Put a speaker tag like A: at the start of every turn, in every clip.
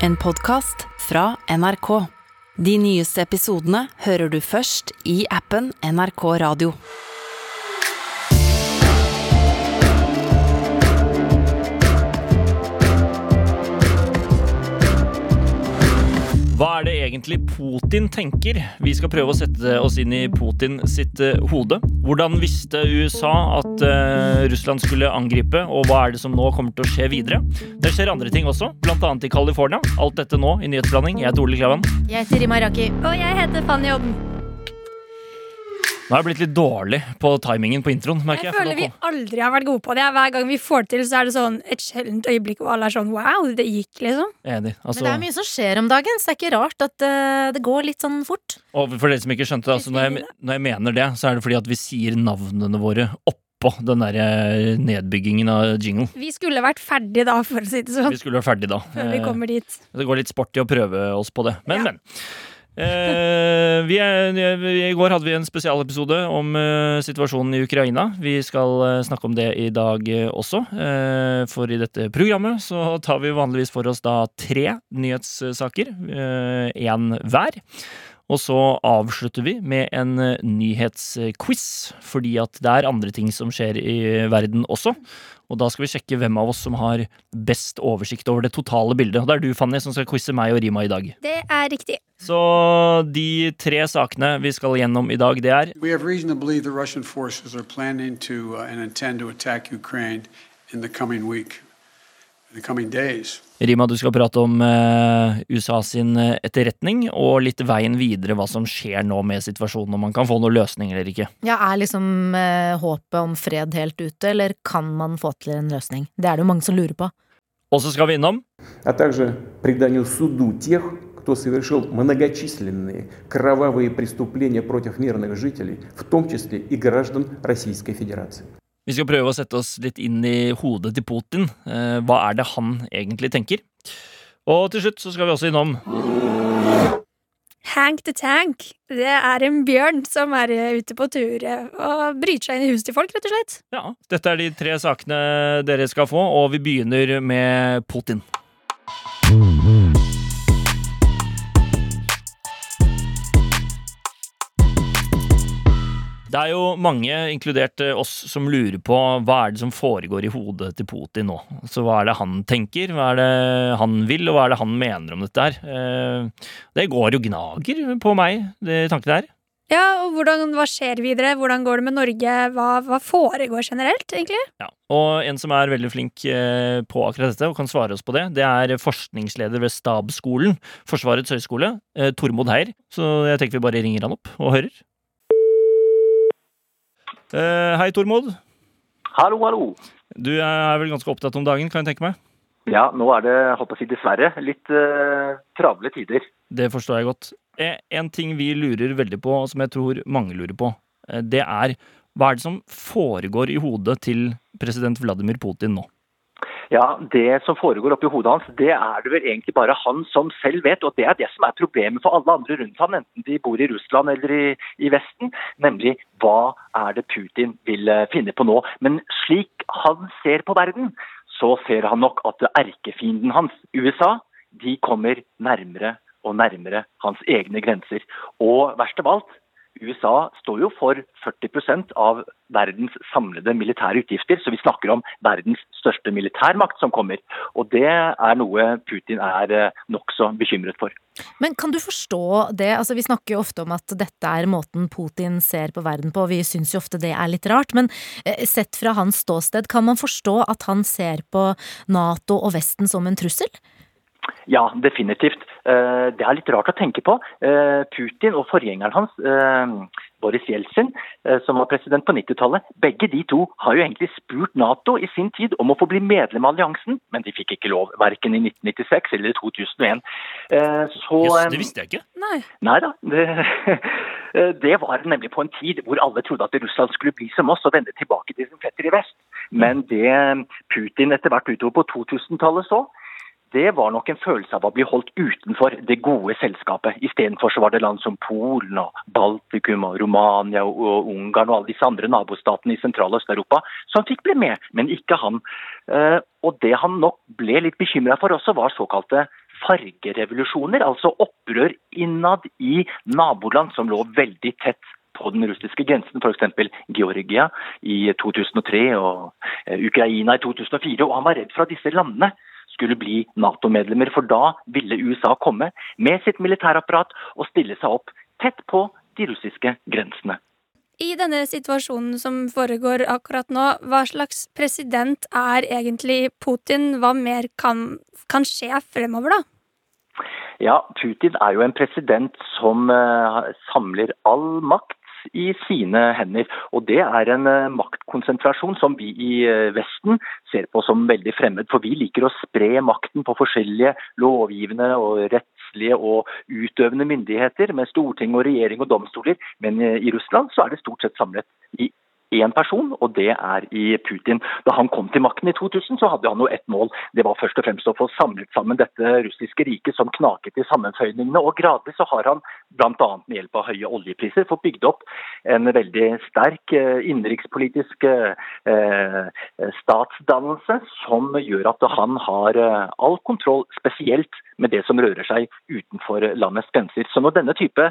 A: En podkast fra NRK. De nyeste episodene hører du først i appen NRK Radio.
B: Hva er det egentlig Putin tenker? Vi skal prøve å sette oss inn i Putin sitt eh, hode. Hvordan visste USA at eh, Russland skulle angripe, og hva er det som nå kommer til å skje videre? Det skjer andre ting også, bl.a. i California. Alt dette nå i Nyhetsblanding. Jeg heter Ole Klevan.
C: Jeg heter Rima Raki.
D: Og jeg heter Fanny Odden.
B: Nå har jeg blitt litt dårlig på timingen på introen, merker
C: Jeg
B: jeg. for
C: føler
B: nå
C: vi
B: kom-
C: aldri har vært gode på det. Hver gang vi får til, så er det sånn et sjeldent øyeblikk hvor alle er sånn wow, det gikk, liksom.
B: Enig.
D: Men det er
B: Altså,
D: mye som skjer om dagen, så det er ikke rart at eh, det går litt sånn fort.
B: og for dere som ikke skjønte det, altså, når, jeg, når jeg mener det, så er det fordi at vi sier navnene våre oppå den der eh, nedbyggingen av jingle.
C: Vi skulle vært ferdig da, for å si det sånn.
B: Vi skulle vært ferdig da.
C: Før vi
B: Eh,
C: kommer dit.
B: Det går litt sporty å prøve oss på det. Men,
C: Ja.
B: men. Eh, vi er, I går hadde vi en spesialepisode om eh, situasjonen i Ukraina. Vi skal eh, snakke om det i dag eh, også. Eh, for i dette programmet så tar vi vanligvis for oss da tre nyhetssaker. Én hver. Og så avslutter vi med en eh, nyhetsquiz, fordi at det er andre ting som skjer i verden også. Og da skal vi sjekke hvem av oss som har best oversikt over det totale bildet. Og det er du, Fanny, som skal quize meg og Rima i dag.
C: Det er riktig.
B: Så de tre sakene vi skal gjennom i dag, det er
E: We have reason to believe the Russian forces are planning to uh, and intend to attack Ukraine in the coming week, in the coming days.
B: Rima, du skal prate om eh, USA sin eh, etterretning og litt veien videre, hva som skjer nå med situasjonen, om man kan få noen løsning eller ikke.
D: Ja, Er liksom eh, håpet om fred helt ute, eller kan man få til en løsning? Det er det jo mange som lurer på.
B: Og så skal vi innom
F: а также преданию суду тех, кто совершил многочисленные кровавые преступления против мирных жителей, в том числе и граждан Российской Федерации.
B: Vi skal prøve å sette oss litt inn i hodet til Putin. Eh, hva er det han egentlig tenker? Og til slutt så skal vi også innom
C: Hank the Tank. Det er en bjørn som er eh, ute på tur eh, og bryter seg inn i huset til folk, rett og slett.
B: Ja, dette er de tre sakene dere skal få, og vi begynner med Putin. Det er jo mange, inkludert eh, oss, som lurer på hva er det som foregår i hodet til Putin nå. Så hva er det han tenker, hva er det han vil, og hva er det han mener om dette her. Eh, Det går jo gnager på meg, de tankene her.
C: Ja, og hvordan, hva skjer videre? Hvordan går det med Norge? Hva, hva foregår generelt, egentlig?
B: Ja, og en som er veldig flink eh, på akkurat dette, og kan svare oss på det, det er forskningsleder ved Stabsskolen, Forsvarets høgskole, eh, Tormod Heier. Så jeg tenker vi bare ringer han opp og hører. Eh, Hei, Tormod.
G: Hallo, hallo.
B: Du er vel ganske opptatt om dagen, kan jeg tenke meg?
G: Ja, nå er det, jeg holdt på å si dessverre, litt eh, travle tider.
B: Det forstår jeg godt. Eh, En ting vi lurer veldig på, og som jeg tror mange lurer på, eh, det er hva er det som foregår i hodet til president Vladimir Putin nå?
G: Ja, det som foregår oppi hodet hans, det er det vel egentlig bare han som selv vet, og det er det som er problemet for alle andre rundt han, enten de bor i Russland eller i, i Vesten, nemlig hva er det Putin vil eh, finne på nå. Men slik han ser på verden, så ser han nok at erkefienden hans, USA, de kommer nærmere og nærmere hans egne grenser. Og verst av alt, USA står jo for 40 av verdens samlede militære utgifter, så vi snakker om verdens største militærmakt som kommer. Og det er noe Putin er eh, nokså bekymret for.
D: Men kan du forstå det? Altså, vi snakker jo ofte om at dette er måten Putin ser på verden på, og vi syns jo ofte det er litt rart, men eh, sett fra hans ståsted, kan man forstå at han ser på Nato og Vesten som en trussel?
G: Ja, definitivt. Eh, Det er litt rart å tenke på. Eh, Putin og forgjengeren hans, eh, Boris Jeltsin, eh, som var president på 90-tallet, begge de to har jo egentlig spurt Nato i sin tid om å få bli medlem av alliansen, men de fikk ikke lov, verken i 1996 eller i 2001. Eh, Så,
B: Jøss,
G: eh,
B: det visste jeg ikke.
C: Nei.
G: Nei da. Det, det var nemlig på en tid hvor alle trodde at Russland skulle bli som oss og vende tilbake til sin fetter i vest. Men det Putin etter hvert utover på 2000-tallet så, det var nok en følelse av å bli holdt utenfor det gode selskapet. Istedenfor så var det land som Polen og Baltikum og Romania og, og Ungarn og alle disse andre nabostatene i Sentral- og Øst-Europa som fikk bli med, men ikke han. Eh, og det han nok ble litt bekymra for også, var såkalte fargerevolusjoner, altså opprør innad i naboland som lå veldig tett på den russiske grensen, f.eks. Georgia i 2003 og eh, Ukraina i 2004. Og han var redd for at disse landene skulle bli Nato-medlemmer, for da ville USA komme med sitt militærapparat og stille seg opp tett på de russiske grensene.
C: I denne situasjonen som foregår akkurat nå, hva slags president er egentlig Putin? Hva mer kan, kan skje fremover, da?
G: Ja, Putin er jo en president som eh, samler all makt i sine hender. Og det er en eh, maktkonsentrasjon som vi i eh, Vesten ser på som veldig fremmed. For vi liker å spre makten på forskjellige lovgivende og rettslige og utøvende myndigheter, med storting og regjering og domstoler. Men eh, i Russland så er det stort sett samlet i én person, og det er i Putin. Da han kom til makten i 2000, så hadde han jo ett mål. Det var først og fremst å få samlet sammen dette russiske riket som knaket i sammenføyningene. Og gradvis så har han, bl.a. med hjelp av høye oljepriser, fått bygd opp en veldig sterk eh, innenrikspolitisk eh, statsdannelse som gjør at han har eh, all kontroll, spesielt med det som rører seg utenfor landets grenser. Så når denne type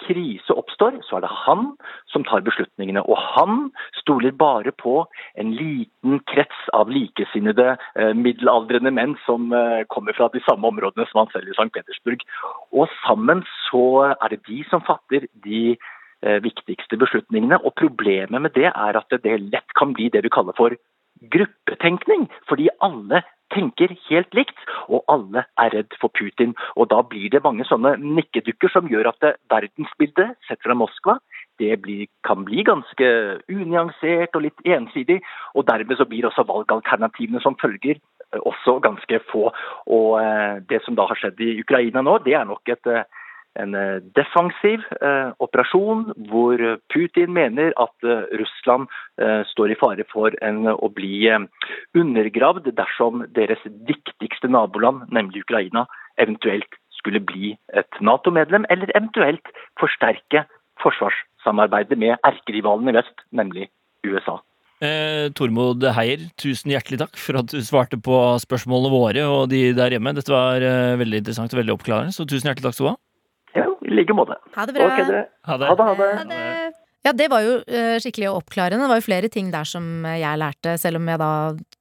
G: krise oppstår, så er det han som tar beslutningene. Og han stoler bare på en liten krets av likesinnede eh, middelaldrende menn som eh, kommer fra de samme områdene som han selv i St. Petersburg. Og sammen så er det de som fatter de eh, viktigste beslutningene. Og problemet med det er at det lett kan bli det vi kaller for gruppetenkning. Fordi alle tenker helt likt, og alle er redd for Putin. Og da blir det mange sånne nikkedukker som gjør at det verdensbildet sett fra Moskva det blir, kan bli ganske unyansert og litt ensidig. Og dermed så blir også valgalternativene som følger eh, også ganske få. Og eh, det som da har skjedd i Ukraina nå, det er nok et eh, en eh, defensiv eh, operasjon hvor eh, Putin mener at eh, Russland eh, står i fare for en, å bli eh, undergravd dersom deres viktigste naboland, nemlig Ukraina, eventuelt skulle bli et Nato-medlem, eller eventuelt forsterke forsvarssamarbeidet med erkerivalen i vest, nemlig USA.
B: Eh, Tormod Heier, tusen hjertelig takk for at du svarte på spørsmålene våre og de der hjemme. Dette var eh, veldig interessant og veldig oppklarende, så tusen hjertelig takk skal du ha.
G: Ja, I like måte.
D: Ha det bra.
G: Ok, dere.
B: Ha det.
G: Ha det, ha det.
C: Ja, det
D: Ja, det var jo eh, skikkelig oppklarende. Det var jo flere ting der som jeg lærte, selv om jeg da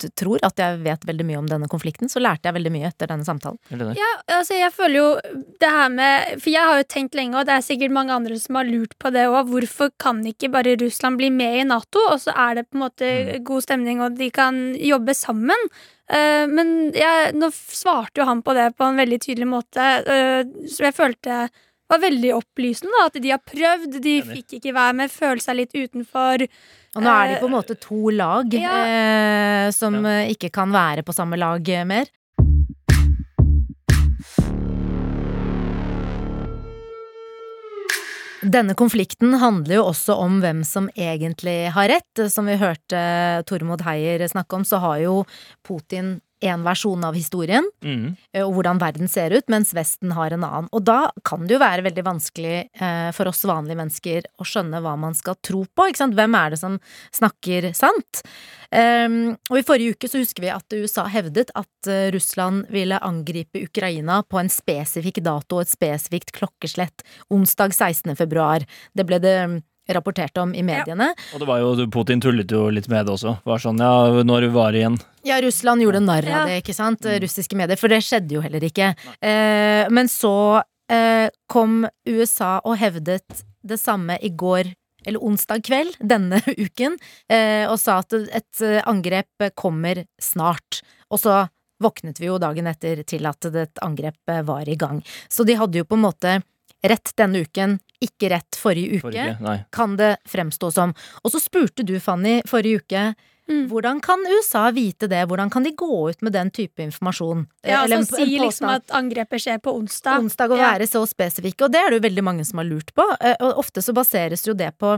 D: t- tror at jeg vet veldig mye om denne konflikten, så lærte jeg veldig mye etter denne samtalen.
B: Eller det.
C: Ja, altså jeg føler jo det her med For jeg har jo tenkt lenge, og det er sikkert mange andre som har lurt på det òg. Hvorfor kan ikke bare Russland bli med i Nato, og så er det på en måte
D: Mm.
C: god stemning, og de kan jobbe sammen? Eh, men jeg, nå f- svarte jo han på det på en veldig tydelig måte, eh, så jeg følte det var veldig opplysende da, at de har prøvd, de fikk ikke være med, føle seg litt utenfor.
D: Og nå er de på en måte to lag
C: Ja.
D: eh, som eh, ikke kan være på samme lag eh, mer. Denne konflikten handler jo også om hvem som egentlig har rett. Som vi hørte Tormod Heier snakke om, så har jo Putin én versjon av historien.
B: Mm.
D: eh, og hvordan verden ser ut, mens Vesten har en annen. Og da kan det jo være veldig vanskelig eh, for oss vanlige mennesker å skjønne hva man skal tro på. Ikke sant? Hvem er det som snakker sant? Ehm, og i forrige uke så husker vi at USA hevdet at eh, Russland ville angripe Ukraina på en spesifikk dato og et spesifikt klokkeslett onsdag 16. februar. Det ble det mm, rapportert om i mediene.
B: Og det var jo, Putin tullet jo litt med det også. Var sånn, ja, når var det igjen?
D: Ja, Russland gjorde narr
C: Ja. Mm.
D: av det, ikke sant? Russiske medier, for det skjedde jo heller ikke. Eh, men så eh, kom USA og hevdet det samme i går, eller onsdag kveld denne uken, eh, og sa at et eh, angrep kommer snart. Og så våknet vi jo dagen etter til at et angrep eh, var i gang. Så de hadde jo på en måte rett denne uken, ikke rett forrige uke
B: Forrige? Nei.
D: kan det fremstå som. Og så spurte du, Fanny, forrige uke.
C: Mm.
D: Hvordan kan USA vite det? Hvordan kan de gå ut med den type informasjon?
C: Ja,
D: Eller
C: altså,
D: en- en
C: si liksom
D: påstand
C: at angrepet skjer på onsdag.
D: onsdag å
C: Ja.
D: være så spesifikk, og det er det jo veldig mange som har lurt på. eh, Og ofte så baseres jo det på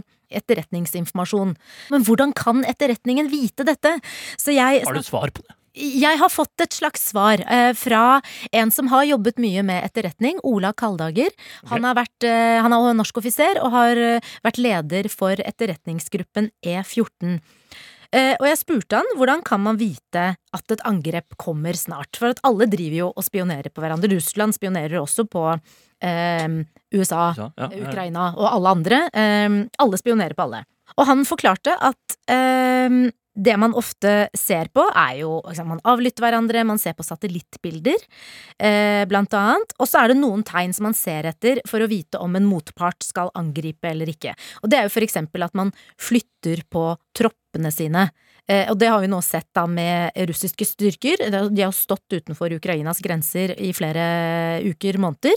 D: etterretningsinformasjon. Men hvordan kan etterretningen vite dette? Så jeg
B: Har du et svar på det?
D: jeg har fått et slags svar eh, fra en som har jobbet mye med etterretning, Ola Kaldager. Han, har vært, eh, han er norsk offiser og har eh, vært leder for etterretningsgruppen E14. Eh, Og jeg spurte han hvordan kan man vite at et angrep kommer snart? For at alle driver jo og spionerer på hverandre. Russland spionerer også på eh, USA,
B: Ja, ja, ja.
D: Ukraina og alle andre. Eh, alle spionerer på alle. Og han forklarte at eh, det man ofte ser på, er jo liksom, Man avlytter hverandre, man ser på satellittbilder, eh, blant annet. Og så er det noen tegn som man ser etter for å vite om en motpart skal angripe eller ikke. Og det er jo for eksempel at man flytter på troppene sine. Eh, og det har vi nå sett da med russiske styrker. Det er- De har jo stått utenfor Ukrainas grenser i flere uker, måneder.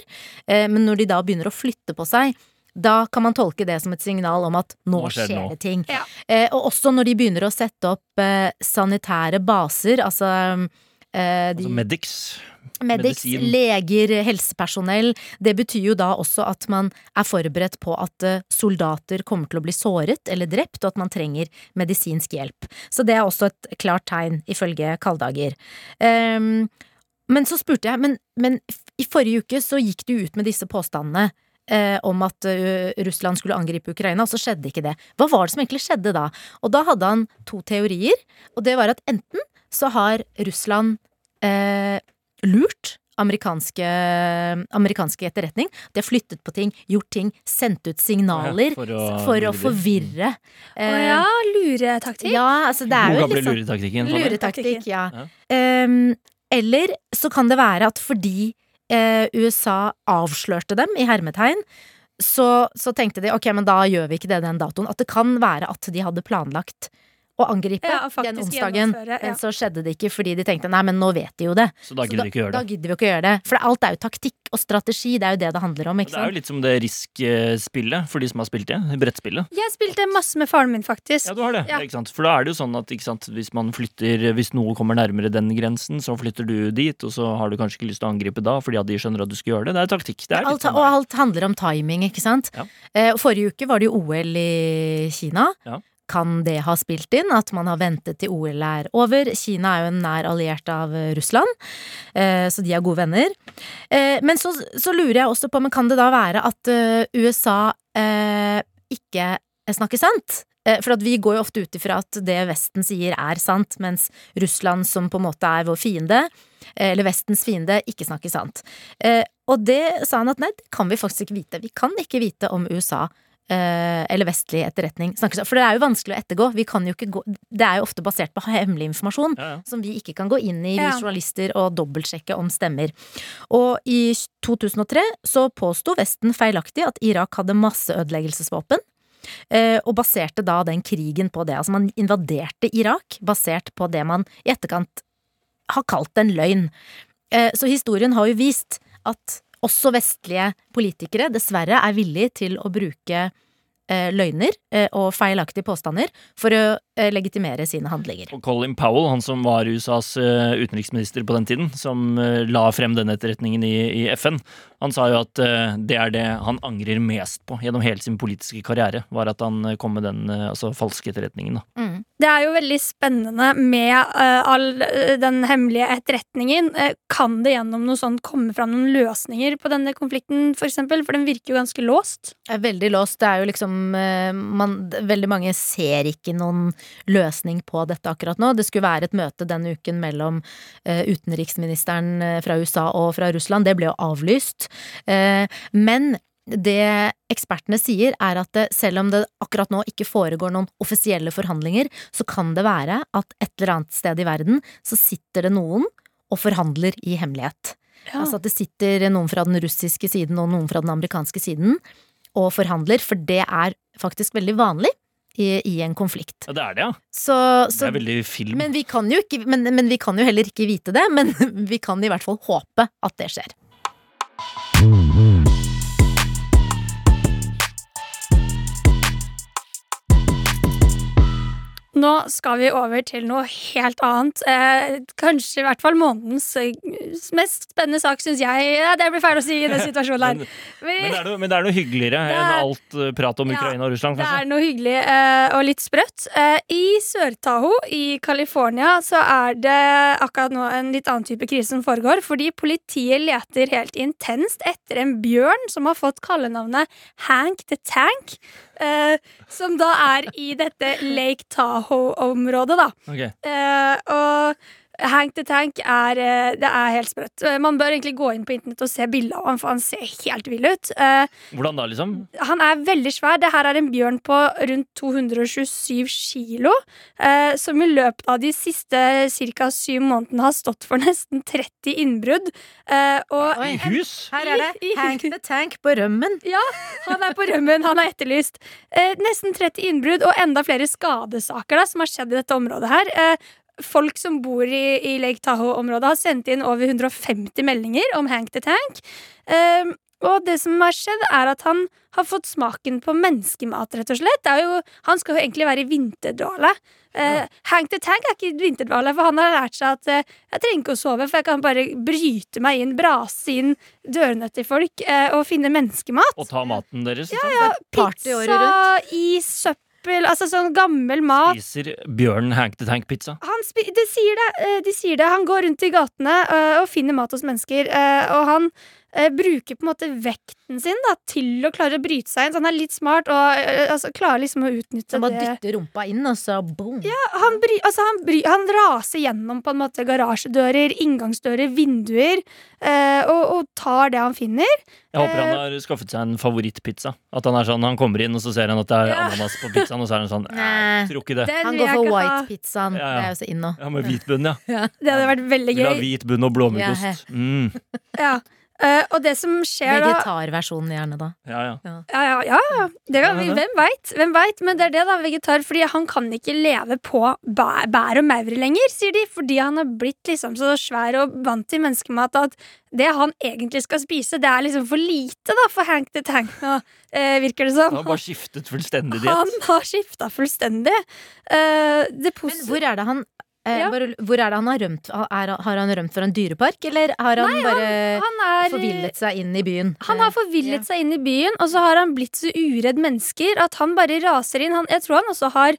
D: Eh, men når de da begynner å flytte på seg, da kan man tolke det som et signal om at nå,
B: Nå skjer
D: skjer
B: det noe.
D: det ting.
C: Ja.
D: Eh, og også når de begynner å sette opp eh, sanitære baser, altså eh, de
B: Altså Medics.
D: Medics,
B: Medisin.
D: leger, helsepersonell. Det betyr jo da også at man er forberedt på at eh, soldater kommer til å bli såret eller drept, og at man trenger medisinsk hjelp. Så det er også et klart tegn, ifølge Kalldager. Ehm, men så spurte jeg, men, men i forrige uke så gikk du ut med disse påstandene. eh, om at eh, Russland skulle angripe Ukraina, og så skjedde ikke det. Hva var det som egentlig skjedde da? Og da hadde han to teorier, og det var at enten så har Russland eh, lurt amerikanske, amerikanske etterretning. De har flyttet på ting, gjort ting, sendt ut signaler
B: Ja, for
D: for
B: å
D: å,
B: forvirre.
D: forvirre.
C: Å ja, luretaktikk.
D: eh, ja, altså det er
B: God
D: jo
B: gamle
D: litt sånn
B: luretaktikken. Fanny.
D: luretaktikk. Ja.
B: Ja.
D: Ehm, eller så kan det være at fordi eh, USA avslørte dem i hermetegn, så, så tenkte de ok, men da gjør vi ikke det den datoen. At det kan være at de hadde planlagt å angripe
C: Ja, faktisk
D: den onsdagen.
C: gjennomføre, ja.
D: Men så skjedde det ikke fordi de tenkte nei, men nå vet de jo det.
B: Så da gidder de ikke
D: Så
B: gjøre
D: da
B: det.
D: gidder vi ikke å gjøre det. For alt er jo taktikk og strategi, det er jo det det handler om.
B: Men
D: ikke
B: Det er jo
D: sant?
B: litt som det Risk-spillet, for de som har spilt det. Brettspillet.
C: Jeg spilte masse med faren min, faktisk.
B: Ja, du har det.
C: Ja.
B: Ikke sant? For da er det jo sånn at ikke sant, hvis, man flytter, hvis noe kommer nærmere den grensen, så flytter du dit, og så har du kanskje ikke lyst til å angripe da fordi at de skjønner at du skal gjøre det. Det er taktikk. Det er litt
D: Alt,
B: sånn
D: og
B: det er.
D: alt handler om timing, ikke sant?
B: Ja.
D: Eh, og forrige uke var det jo OL i Kina.
B: Ja.
D: Kan det ha spilt inn at man har ventet til OL er over? Kina er jo en nær alliert av eh, Russland, eh, så de er gode venner. Eh, Men så, så lurer jeg også på, men kan det da være at eh, USA eh, ikke snakker sant? Eh, For at vi går jo ofte ut ifra at det Vesten sier er sant, mens Russland, som på en måte er vår fiende, eh, eller Vestens fiende, ikke snakker sant. Eh, Og det sa han at nei, det kan vi faktisk ikke vite. Vi kan ikke vite om USA eh, eller vestlig etterretning snakker sant. For det er jo vanskelig å ettergå. Vi kan jo ikke gå, det er jo ofte basert på hemmelig informasjon
B: Ja, ja.
D: som vi ikke kan gå inn i, vi
C: Ja.
D: journalister, og dobbeltsjekke om stemmer. Og i 2003 så påsto Vesten feilaktig at Irak hadde masseødeleggelsesvåpen. eh, Og baserte da den krigen på det. Altså man invaderte Irak basert på det man i etterkant har kalt en løgn. Eh, Så historien har jo vist at også vestlige politikere dessverre er villig til å bruke eh, løgner eh, og feilaktige påstander for å eh, legitimere sine handlinger.
B: Og Colin Powell, han som var USAs eh, utenriksminister på den tiden, som eh, la frem den etterretningen i, i FN, han sa jo at eh, det er det han angrer mest på gjennom hele sin politiske karriere, var at han eh, kom med den eh, altså, falske etterretningen. Da.
D: Mm.
C: Det er jo veldig spennende med eh, all eh, den hemmelige etterretningen. Eh, kan det gjennom noe sånt komme fram noen løsninger på denne konflikten, f.eks.? For, eksempel? for den virker jo ganske låst.
D: er veldig låst. Det er jo liksom eh, man, Veldig mange ser ikke noen løsning på dette akkurat nå. Det skulle være et møte denne uken mellom eh, utenriksministeren eh, fra USA og fra Russland. Det ble jo avlyst. Eh, Men det ekspertene sier, er at det, selv om det akkurat nå ikke foregår noen offisielle forhandlinger, så kan det være at et eller annet sted i verden så sitter det noen og forhandler i hemmelighet. Altså at det sitter noen fra den russiske siden og noen fra den amerikanske siden og forhandler, for det er faktisk veldig vanlig i, i en konflikt.
B: Ja, det er det, ja.
D: Så,
B: Det
D: så
B: er veldig film.
D: men vi, kan jo ikke, men, men vi kan jo heller ikke vite det, men vi kan i hvert fall håpe at det skjer.
C: Nå skal vi over til noe helt annet. Eh, kanskje i hvert fall månedens eh, mest spennende sak, syns jeg. Ja, det blir feil å si i den situasjonen
B: Men-
C: her. Vi,
B: Men det, er noe, men det er noe hyggeligere
C: Det er-
B: enn alt eh, prat om
C: Ja,
B: Ukraina og Russland,
C: Det er
B: kanskje.
C: noe hyggelig eh, og litt sprøtt. Eh, I Sør-Taho i California så er det akkurat nå en litt annen type krise som foregår, fordi politiet leter helt intenst etter en bjørn som har fått kallenavnet Hank the Tank eh, som da er i dette Lake Tahoe-området, da.
B: Ok.
C: Eh, og Hank the Tank er eh, Det er helt sprøtt. Eh, Man bør egentlig gå inn på internett og se bildet av han, for han ser helt vill ut. Eh,
B: Hvordan da, liksom?
C: han er veldig svær. Det her er en bjørn på rundt 227 kilo, eh, som i løpet av de siste ca. syv månedene har stått for nesten 30 innbrudd. Eh, og
B: I hus?
D: Her er det Hank the Tank på rømmen.
C: han er på rømmen, han er etterlyst. Eh, nesten 30 innbrudd og enda flere skadesaker da, som har skjedd i dette området her. Eh, folk som bor i, i Lake Tahoe-området har sendt inn over 150 meldinger om Hank the Tank. Eh, og det som har skjedd, er at han har fått smaken på menneskemat, rett og slett. Det er jo, han skal jo egentlig være i vinterdvale. Eh, Hank the Tank er ikke i vinterdvale, for han har lært seg at eh, jeg trenger ikke å sove, for jeg kan bare bryte meg inn, brase inn dørene til folk eh, og finne menneskemat.
B: Og ta maten deres? liksom?
D: Party året
C: Pizza, is, søppel, altså sånn gammel mat.
B: Spiser bjørnen Hank the Tank-pizza?
C: Han spi de, sier det, eh, de sier det. Han går rundt i gatene eh, og finner mat hos mennesker. eh, Og han eh, bruker på en måte vekten sin da, til å klare å bryte seg inn. Så han er litt smart og eh, altså, klarer liksom å utnytte
D: Som bare
C: det.
D: dytter rumpa inn, og så boom.
C: Han, bry altså, han, bry han raser gjennom på en måte garasjedører, inngangsdører, vinduer, eh, og, og tar det han finner.
B: Jeg håper
C: Eh.
B: han har skaffet seg en favorittpizza. At han er sånn, han kommer inn, og så ser han at det er
C: Ja.
B: ananas på pizzaen, og så er han sånn "Eh,
D: Nei.
B: jeg Tror ikke det.
C: Den
D: Han går
C: vil jeg
D: for
C: ikke ha.
D: white pizzaen.
B: Ja, ja.
D: Det er jo så in nå.
B: Ja, med hvit bunn, ja.
C: Det hadde vært veldig
B: Vil ha
C: gøy.
B: hvit bunn og blåmuggost. Mm.
C: Ja. Eh, og det som skjer da
D: Vegetarversjonen gjerne, da.
B: Ja, ja.
C: Ja, ja, ja. ja. Det kan, vi- hvem veit? Hvem vet? Men det er det, da, vegetar. Fordi han kan ikke leve på bæ- bær og maur lenger, sier de. Fordi han har blitt liksom så svær og vant til menneskemat at det han egentlig skal spise, det er liksom for lite da for Hank the Tank nå, eh, virker det
B: Han har
C: som.
B: bare skiftet fullstendig
C: Han
B: diett.
C: har skifta fullstendig. Eh, det
D: Men
C: posi-
D: hvor er det han eh,
C: Ja.
D: bare, Hvor er det han har rømt? Er, har han rømt fra en dyrepark, eller har han bare
C: han er eh,
D: forvillet seg inn i byen?
C: Han har
D: Ja.
C: forvillet seg inn i byen, og så har han blitt så uredd mennesker at han bare raser inn. Han, jeg tror han også har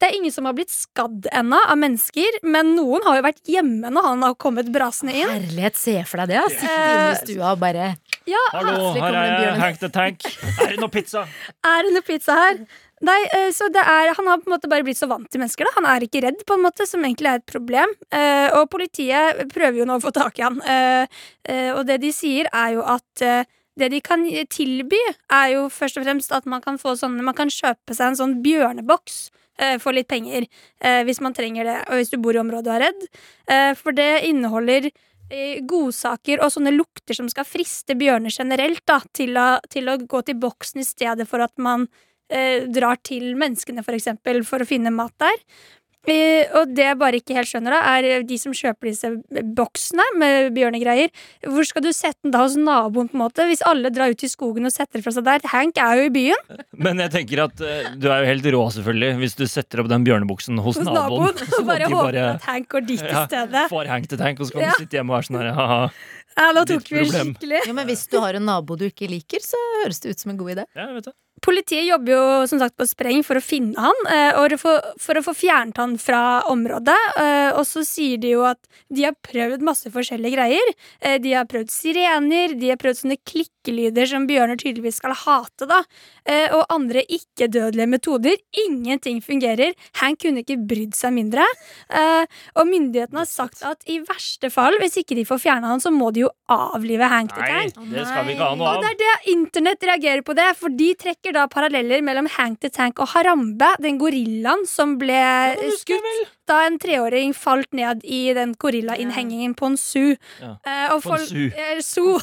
C: Det er ingen som har blitt skadd ennå av mennesker, men noen har jo vært hjemme når han har kommet brasende inn.
D: Herlighet, se for deg det! ass. Sitte inne i stua og bare
B: Hallo, her
D: Plutselig kommer
B: er
D: den
B: jeg,
D: bjørnen.
B: Hank the Tank. Er det noe pizza?
C: Er det noe pizza her? Nei, eh, så det er, Han har på en måte bare blitt så vant til mennesker. da Han er ikke redd, på en måte, som egentlig er et problem. Eh, og politiet prøver jo nå å få tak i han. Eh, eh, og det de sier, er jo at eh, det de kan tilby, er jo først og fremst at man kan få sånne Man kan kjøpe seg en sånn bjørneboks. eh, For litt penger, eh, hvis man trenger det, og hvis du bor i området og er redd. Eh, For det inneholder eh, godsaker og sånne lukter som skal friste bjørner generelt da, til, å, til å gå til boksen i stedet for at man eh, drar til menneskene for eksempel for å finne mat der. Eh, og det jeg bare ikke helt skjønner, da, er eh, de som kjøper disse boksene med bjørnegreier. Hvor skal du sette den da hos naboen, på en måte? Hvis alle drar ut i skogen og setter det fra seg der. Hank er jo i byen.
B: Men jeg tenker at eh, du er jo helt rå, selvfølgelig, hvis du setter opp den bjørnebuksen hos
C: Hos
B: naboen.
C: naboen.
B: sånn
C: Og bare
B: at de
C: håper
B: bare-
C: at Hank går dit i
B: Ja,
C: stedet.
B: Får Hank the Tank, og så kan
C: Ja.
B: du sitte hjemme og være sånn her, ha-ha.
C: Ja, nå
B: ditt
C: tok vi den
B: problem.
C: skikkelig.
D: Jo, men hvis du har en nabo du ikke liker, så høres det ut som en god idé.
B: Ja, jeg vet det.
C: Politiet jobber jo som sagt på spreng for å finne han, eh, og for, for å få fjernet han fra området. eh, Og så sier de jo at de har prøvd masse forskjellige greier. Eh, De har prøvd sirener, de har prøvd sånne klikkelyder som bjørner tydeligvis skal hate, da. eh, Og andre ikke-dødelige metoder. Ingenting fungerer. Hank kunne ikke brydd seg mindre. Eh, Og myndighetene har sagt at i verste fall, hvis ikke de får fjerna han, så må de jo avlive Hank the Tank.
B: Nei, det skal vi ikke ha noe
C: Og
B: av.
C: det er det internett reagerer på det, for de trekker da paralleller mellom Hank the Tank og Harambe, den gorillaen som ble eh, skutt da en treåring falt ned i den gorillainnhengingen på en zoo.
B: Ja.
C: Eh, og
B: På en
C: folk-
B: zoo.
C: eh, zoo.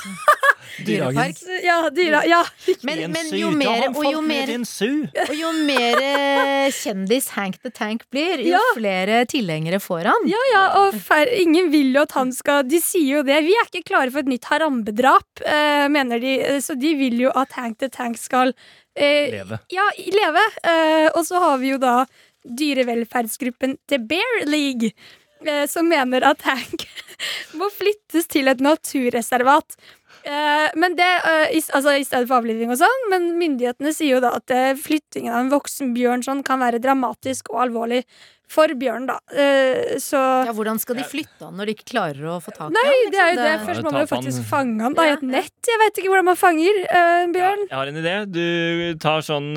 B: Dyrehagen.
C: ja, dyra, ja.
D: Men,
B: I en
D: men
B: su.
D: jo
B: Da
D: mer
B: han
D: og
B: falt
D: jo
B: ned
D: mer
B: i en su.
D: Og jo mer eh, kjendis Hank the Tank blir, jo
C: Ja.
D: flere tilhengere får han.
C: ja, ja, og fer, ingen vil jo at han skal De sier jo det. Vi er ikke klare for et nytt Harambe-drap, eh, mener de, eh, så de vil jo at Hank the Tank skal eh,
B: Leve.
C: Ja, i leve. Eh, og så har vi jo da dyrevelferdsgruppen The Bear League, eh, som mener at Hank må flyttes til et naturreservat. Eh, men det, eh, i, altså I stedet for avliving og sånn, men myndighetene sier jo da at eh, flyttingen av en voksen bjørn sånn kan være dramatisk og alvorlig For Bjørn, da. Eh, Så
D: Ja, hvordan skal de flytte han når de ikke klarer å få tak i
C: Nei,
D: han?
C: det er jo det.
D: liksom?
C: Først
B: Ja,
C: må man jo
B: tape han.
C: faktisk fange han da, i
D: Ja.
C: et nett. Jeg vet ikke hvordan man fanger eh, en bjørn.
B: Jeg har en idé. Du tar sånn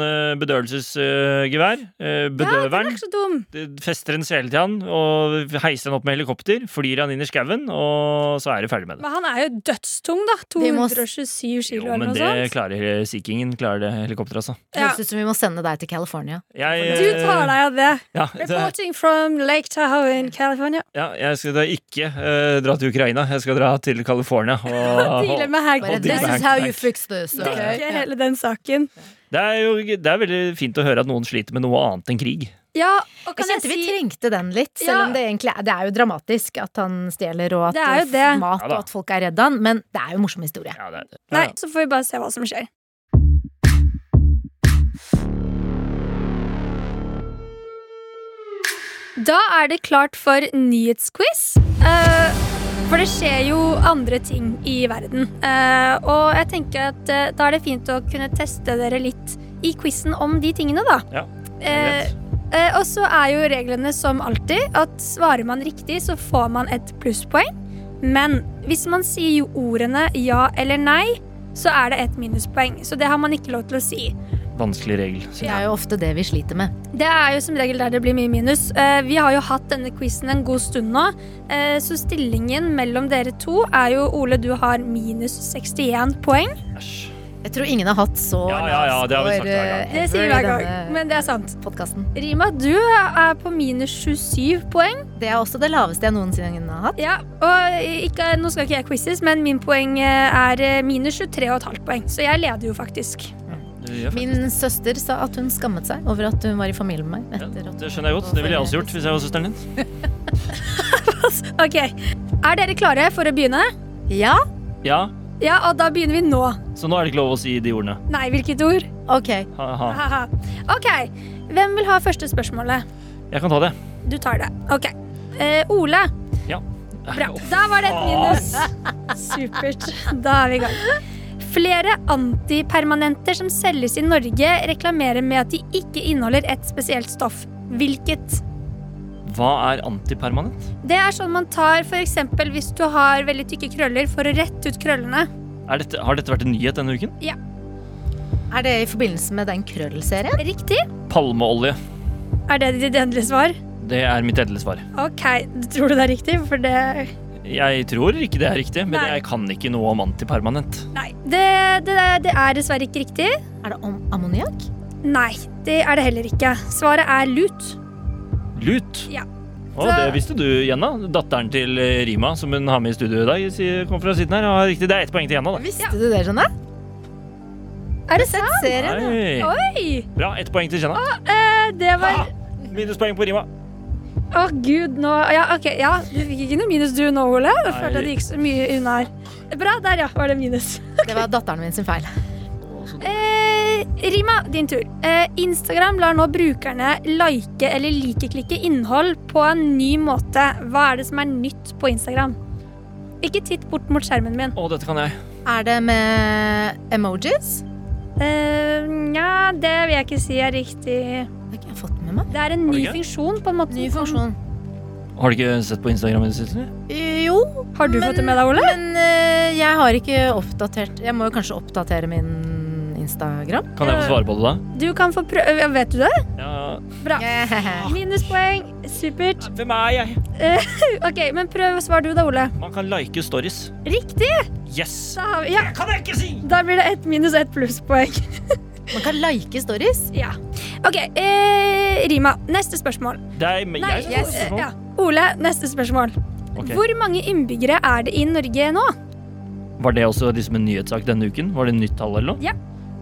B: bedøvelsesgevær. eh,
C: Ja, den
B: Bedøveren.
C: er ikke så dum.
B: Du fester en sele til han og heiser han opp med helikopter. Flyr han inn i skauen, og så er du ferdig med det.
C: Men han er jo dødstung, da.
D: Vi må s-
C: 227
B: Jo,
C: kilo eller
B: men
C: noe
B: det
C: sånt.
B: klarer Sea Kingen. Klarer det helikopteret, altså.
D: Det høres ut som vi må sende deg til California.
B: Jeg,
C: Du tar deg av det.
B: Ja, det,
C: Reporting from Lake Tahoe in California.
B: ja, jeg skal da ikke eh, dra til Ukraina. Jeg skal dra til California. Og,
C: Dealer med
D: Bare,
C: Hagrid.
B: det
D: This
B: er
D: is how
B: ikke-
D: you fix this. ok?
C: Dekker
D: Ja.
C: hele den saken.
B: det, er jo, det er veldig fint å høre at noen sliter med noe annet enn krig.
C: Ja,
D: Jeg
C: og kan jeg
D: kjente vi
C: si
D: trengte den litt, selv
C: Ja.
D: om det egentlig er, det er jo dramatisk at han stjeler og at
C: Det er jo
D: f-
C: det.
D: mat
B: Ja
D: og
B: da.
D: at folk er redd han, men det er jo en morsom historie.
B: Ja, det er det.
C: Nei, så får vi bare se hva som skjer. Da er det klart for nyhetsquiz. Eh, for det skjer jo andre ting i verden. Eh, og jeg tenker at eh, da er det fint å kunne teste dere litt i quizen om de tingene, da.
B: Ja, det er
C: Eh,
B: greit.
C: eh, og så er jo reglene som alltid at svarer man riktig, så får man et plusspoeng. Men hvis man sier jo ordene ja eller nei, så er det ett minuspoeng. Så det har man ikke lov til å si.
B: Vanskelig regel. synes
D: Det
B: jeg.
D: er jo ofte det vi sliter med.
C: Det er jo som regel der det blir mye minus. Eh, Vi har jo hatt denne quizen en god stund nå, eh, så stillingen mellom dere to er jo Ole, du har minus 61 poeng.
B: Æsj.
D: Jeg tror ingen har hatt så
B: Ja, ja, ja, det har vi
D: lav
B: sagt hver gang.
D: score, eh,
C: Det sier vi
D: ever i
C: hver gang,
D: denne
C: men det er sant.
D: podcasten.
C: Rima, du er på minus 27 poeng.
D: Det er også det laveste jeg noensinne har hatt.
C: Ja, og ikke, nå skal ikke jeg quizzes, men min poeng eh, er eh, minus 23,5 poeng, så jeg leder jo faktisk.
B: Det gjør faktisk-
D: Min søster sa at hun skammet seg over at hun var i familie med meg. Etter at
B: Det skjønner jeg godt. Det ville jeg også gjort hvis jeg var søsteren din.
C: Ok, er dere klare for å begynne?
D: Ja?
B: Ja,
C: Ja, og da begynner vi nå.
B: Så nå er det ikke lov å si de ordene.
C: Nei, hvilket ord?
D: Ok.
B: Ha-ha.
C: Haha. Ok, hvem vil ha første spørsmålet?
B: Jeg kan ta det.
C: Du tar det. Ok. Eh, Ole.
B: Ja.
C: Bra. Da var det et minus. Supert. Da er vi i gang. Flere antipermanenter som selges i Norge, reklamerer med at de ikke inneholder et spesielt stoff. Hvilket?
B: Hva er antipermanent?
C: Det er sånn man tar f.eks. hvis du har veldig tykke krøller, for å rette ut krøllene.
B: Er dette, har dette vært en nyhet denne uken?
D: Er det i forbindelse med den krøllserien?
C: Riktig.
B: Palmeolje.
C: Er det ditt endelige svar?
B: Det er mitt endelige svar.
C: Ok, tror du det er riktig? For det
B: Jeg tror ikke det er riktig, men
C: Nei.
B: jeg kan ikke noe om antipermanent.
C: Nei. Det, det, det er dessverre ikke riktig.
D: Er det om ammoniakk?
C: Nei, det er det heller ikke. Svaret er lut.
B: Lut.
C: Ja.
B: Å, det visste du, Jenna. Datteren til eh, Rima, som hun har med i studio i dag, sier- kom fra siden her. Ja, riktig. Det er ett poeng til Jenna, da.
D: Visste du det, Janne?
C: Er det sant?
D: Serien?
B: Nei.
C: Oi!
B: Bra. Ett poeng til Jenna.
C: Eh, Det var
B: Ah, minuspoeng på Rima.
C: Å, gud, nå Ja, OK. Ja, du fikk ikke noe minus du nå, Ole. Jeg følte at det gikk så mye unna her. Bra. Der, ja, var det minus.
D: Det var datteren min sin feil.
C: Eh, Rima, din tur. Eh, Instagram lar nå brukerne like eller likeklikke innhold på en ny måte. Hva er det som er nytt på Instagram? Ikke titt bort mot skjermen min.
B: Å, dette kan jeg.
D: Er det med emojis?
C: Eh, Nja, det vil jeg ikke si er riktig.
D: Det har ikke jeg fått med meg.
C: Det er en
B: Har du
C: ny
B: ikke?
C: funksjon, på en måte.
D: Ny
C: som-
D: funksjon.
B: Har du ikke sett på Instagram i det siste?
D: Eh, Jo,
C: Har du
D: Men-
C: fått det med deg, Ole?
D: men eh, jeg har ikke oppdatert Jeg må jo kanskje oppdatere min Instagram.
B: Kan jeg få svare på det, da?
C: Du kan få prøve ja, Vet du det?
B: Eh, Ja.
C: Bra.
B: Ah.
D: Yeah.
C: Minuspoeng. Supert.
B: Hvem er jeg?
C: Ok, men prøv å svare du da, Ole.
B: Man kan like stories.
C: Riktig!
B: Yes!
C: Da, har vi, ja,
B: Kan jeg ikke si!
C: da blir det ett minus ett plusspoeng.
D: Man kan like stories.
C: Ja. Ok, eh, Rima, neste spørsmål.
B: Det er men jeg som sånn.
D: yes,
B: får spørsmål.
C: Ja. Ole, neste spørsmål.
B: Ok.
C: Hvor mange innbyggere er det i Norge nå?
B: Var det også liksom en nyhetssak denne uken? Var det nytt tall eller noe?
C: Ja.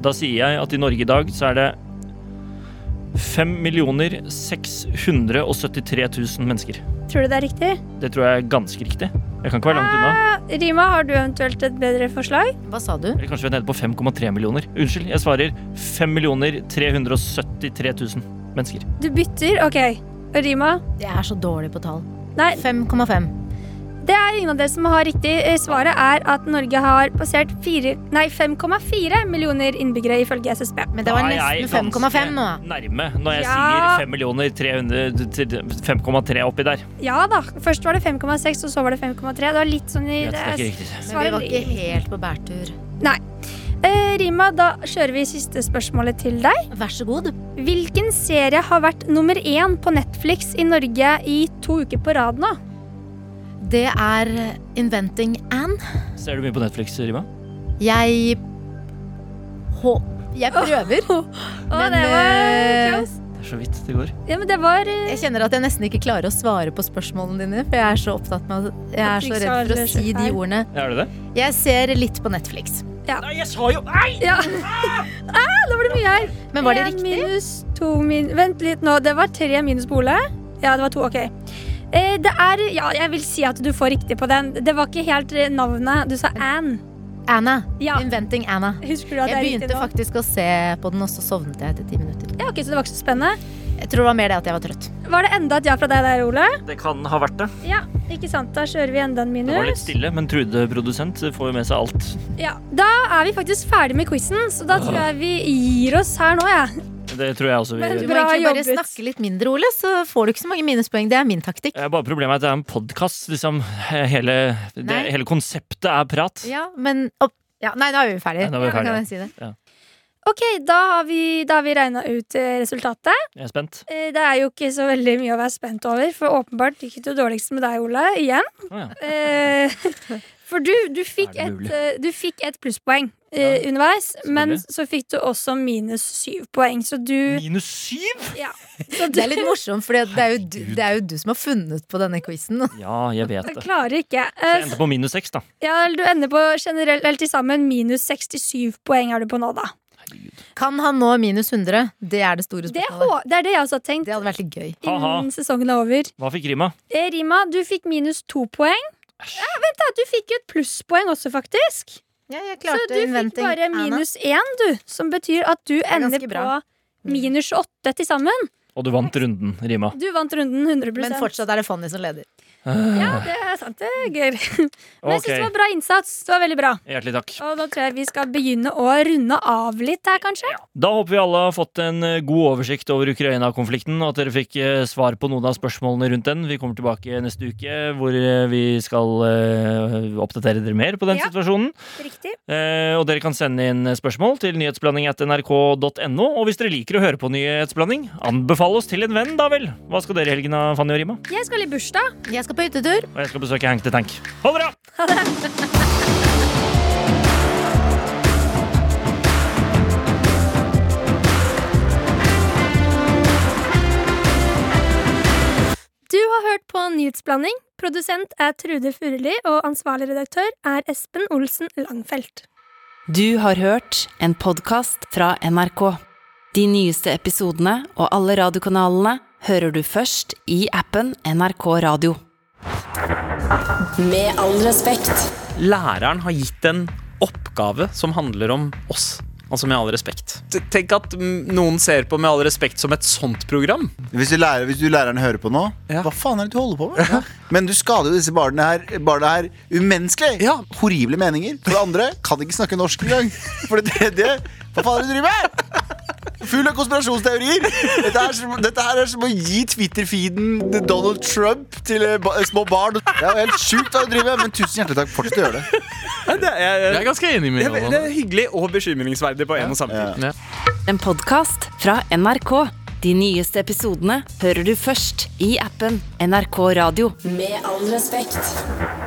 B: Da sier jeg at i Norge i dag så er det 5 673 000 mennesker.
C: Tror du det er riktig?
B: Det tror jeg er ganske riktig. Jeg kan ikke være langt unna.
C: Eh, Rima, har du eventuelt et bedre forslag?
D: Hva sa du?
B: Eller kanskje vi er nede på 5,3 millioner. Unnskyld, jeg svarer 5 373 000 mennesker.
C: Du bytter? Ok. Og Rima?
D: Jeg er så dårlig på tall.
C: Nei,
D: 5,5.
C: det Det er ingen av dere som har riktig. Eh, Svaret er at Norge har passert fire- nei, 5,4 millioner innbyggere, ifølge SSB.
D: Men det var
B: Da er jeg
D: nesten
B: ganske
D: 5,5 nå.
B: Nærme når jeg
C: Ja.
B: sier 5 millioner 300 til 5,3 oppi der.
C: Ja da. Først var det 5,6, og så var det 5,3. Det var litt sånn i
B: Jeg tror ikke
C: det er-
B: riktig.
D: Men vi
C: svaret
D: var
C: ligger-
D: ikke helt på bærtur.
C: Nei. Eh, Rima, da kjører vi siste spørsmålet til deg.
D: Vær så god.
C: Hvilken serie har vært nummer én på Netflix i Norge i to uker på rad nå?
D: Det er eh, Inventing Anne.
B: Ser du mye på Netflix, Rima?
D: Jeg hå... Jeg prøver.
C: Å,
D: Men,
C: det
D: eh,
C: var close.
B: Det er så vidt det går.
C: Ja, men det var eh,
D: Jeg kjenner at jeg nesten ikke klarer å svare på spørsmålene dine, for jeg er så opptatt med at jeg er så redd for å si de ordene.
B: Er det det?
D: Jeg ser litt på Netflix.
B: Nei, jeg sa jo Nei!
C: Ja. ah, da var det mye her.
D: Men var det
C: En
D: riktig?
C: Minus to min Vent litt nå. Det var tre minus på Ole. Ja, det var to. Ok. Eh, Det er Ja, jeg vil si at du får riktig på den. Det var ikke helt eh, navnet. Du sa Anne.
D: Anna.
C: Ja.
D: Inventing Anna.
C: Husker du at det
D: Jeg
C: er riktig
D: begynte
C: nå?
D: faktisk å se på den, og så sovnet jeg etter ti minutter.
C: Ja, ok, så det var ikke så spennende.
D: Jeg tror det var mer det at jeg var trøtt.
C: Var det enda et ja fra deg der, Ole?
B: Det kan ha vært det.
C: Ja, ikke sant. Da kjører vi enda en
B: Det var
C: minus.
B: litt stille, men Trude produsent får jo med seg alt.
C: Ja, Da er vi faktisk ferdig med quizen, så da tror jeg vi gir oss her nå, jeg.
B: Det tror jeg også vi
C: Men
B: gjør.
D: Du må
C: Bra
D: egentlig bare
C: jobbet.
D: snakke litt mindre, Ole, så får du ikke så mange minuspoeng. Det er min taktikk.
B: Eh, Bare problemet er at det er en podkast. Liksom, hele, det,
D: Nei.
B: hele konseptet er prat.
D: Ja, men opp. Ja, nei, nå er vi
B: Nei,
D: ferdige.
B: nå er vi
D: Ja, da
B: ferdige.
D: Kan jeg si det.
C: Ok, da har vi, da har vi regna ut eh, resultatet.
B: Jeg er spent.
C: Eh, Det er jo ikke så veldig mye å være spent over, for åpenbart gikk det jo dårligst med deg, Ole, igjen.
B: Å, ja.
C: Eh, For du, du, fikk
B: Er det
C: et,
B: mulig?
C: eh, du fikk et plusspoeng eh, underveis, men
B: selvfølgelig.
C: så fikk du også minus syv poeng, så du
B: Minus syv?!
C: ja, så
D: Det er
C: du-
D: litt morsomt, for det, er jo du- det er jo du som har funnet på denne quizen.
B: Ja, jeg vet
C: Jeg
B: det.
C: klarer ikke.
B: Så
C: Eh,
B: jeg endte på minus seks, da.
C: Ja, Du ender på generelt eller til sammen minus 67 poeng er du på nå, da.
D: Kan han nå minus 100? Det er det store
C: Det,
D: spørsmålet.
C: hå- det er det jeg også har tenkt
D: Det hadde vært litt gøy.
B: Ha-ha.
C: innen sesongen er over.
B: Hva fikk Rima?
C: Eh, Rima, du fikk minus to poeng. Ja, vent da, Du fikk jo et plusspoeng også, faktisk.
D: Ja, jeg
C: Så du fikk bare minus én, du. Som betyr at du ender
D: ganske
C: på
D: bra. Mm.
C: minus åtte til sammen.
B: Og du vant runden, Rima.
C: Du vant runden 100
D: Men fortsatt er det Fanny som leder.
C: Ja, det er sant. Det er gøy. Men jeg
B: Ok,
C: syns det var bra innsats. Det var veldig bra.
B: hjertelig takk.
C: Og nå tror jeg vi skal begynne å runde av litt her, kanskje.
B: Da håper vi alle har fått en eh, god oversikt over Ukraina-konflikten, og at dere fikk eh, svar på noen av spørsmålene rundt den. Vi kommer tilbake neste uke, hvor eh, vi skal eh, oppdatere dere mer på den
C: Ja.
B: situasjonen.
C: Riktig.
B: Eh, og dere kan sende inn spørsmål til nyhetsblanding at nrk.no. Og hvis dere liker å høre på nyhetsblanding, anbefal oss til en venn, da vel. Hva skal dere i helgen, da, Fanny og Rima?
C: Jeg skal i bursdag.
D: Jeg skal på hyttetur.
B: Og jeg skal besøke Hank the Tank. Ha det bra!
C: Du har hørt på Nyhetsblanding. Produsent er Trude Furuli, og ansvarlig redaktør er Espen Olsen Langfelt.
A: Du har hørt en podkast fra NRK. De nyeste episodene og alle radiokanalene hører du først i appen NRK Radio. Med all respekt.
H: læreren har gitt en oppgave som handler om oss. Altså Med all respekt. T- Tenk at mm, noen ser på Med all respekt som et sånt program.
I: Hvis du, lærer, hvis du læreren hører på nå,
H: Ja.
I: hva faen er det du holder på med? Men du skader jo disse barna her, barna her umenneskelig.
H: Ja.
I: Horrible meninger. For det andre, kan ikke snakke norsk engang. For det tredje, hva faen er det du driver med? Full av konspirasjonsteorier. Dette, er som, dette her er som å gi Twitter-feeden til Donald Trump til eh, ba, små barn. Det er jo helt sjukt hva du driver med, men tusen hjertelig takk. Fortsett å gjøre det.
H: Jeg
J: Jeg er ganske enig med
H: det, er, det
J: Johan.
H: er hyggelig og bekymringsverdig på en og samme tid.
A: En podkast fra NRK. De nyeste episodene hører du først i appen NRK Radio. Med all respekt.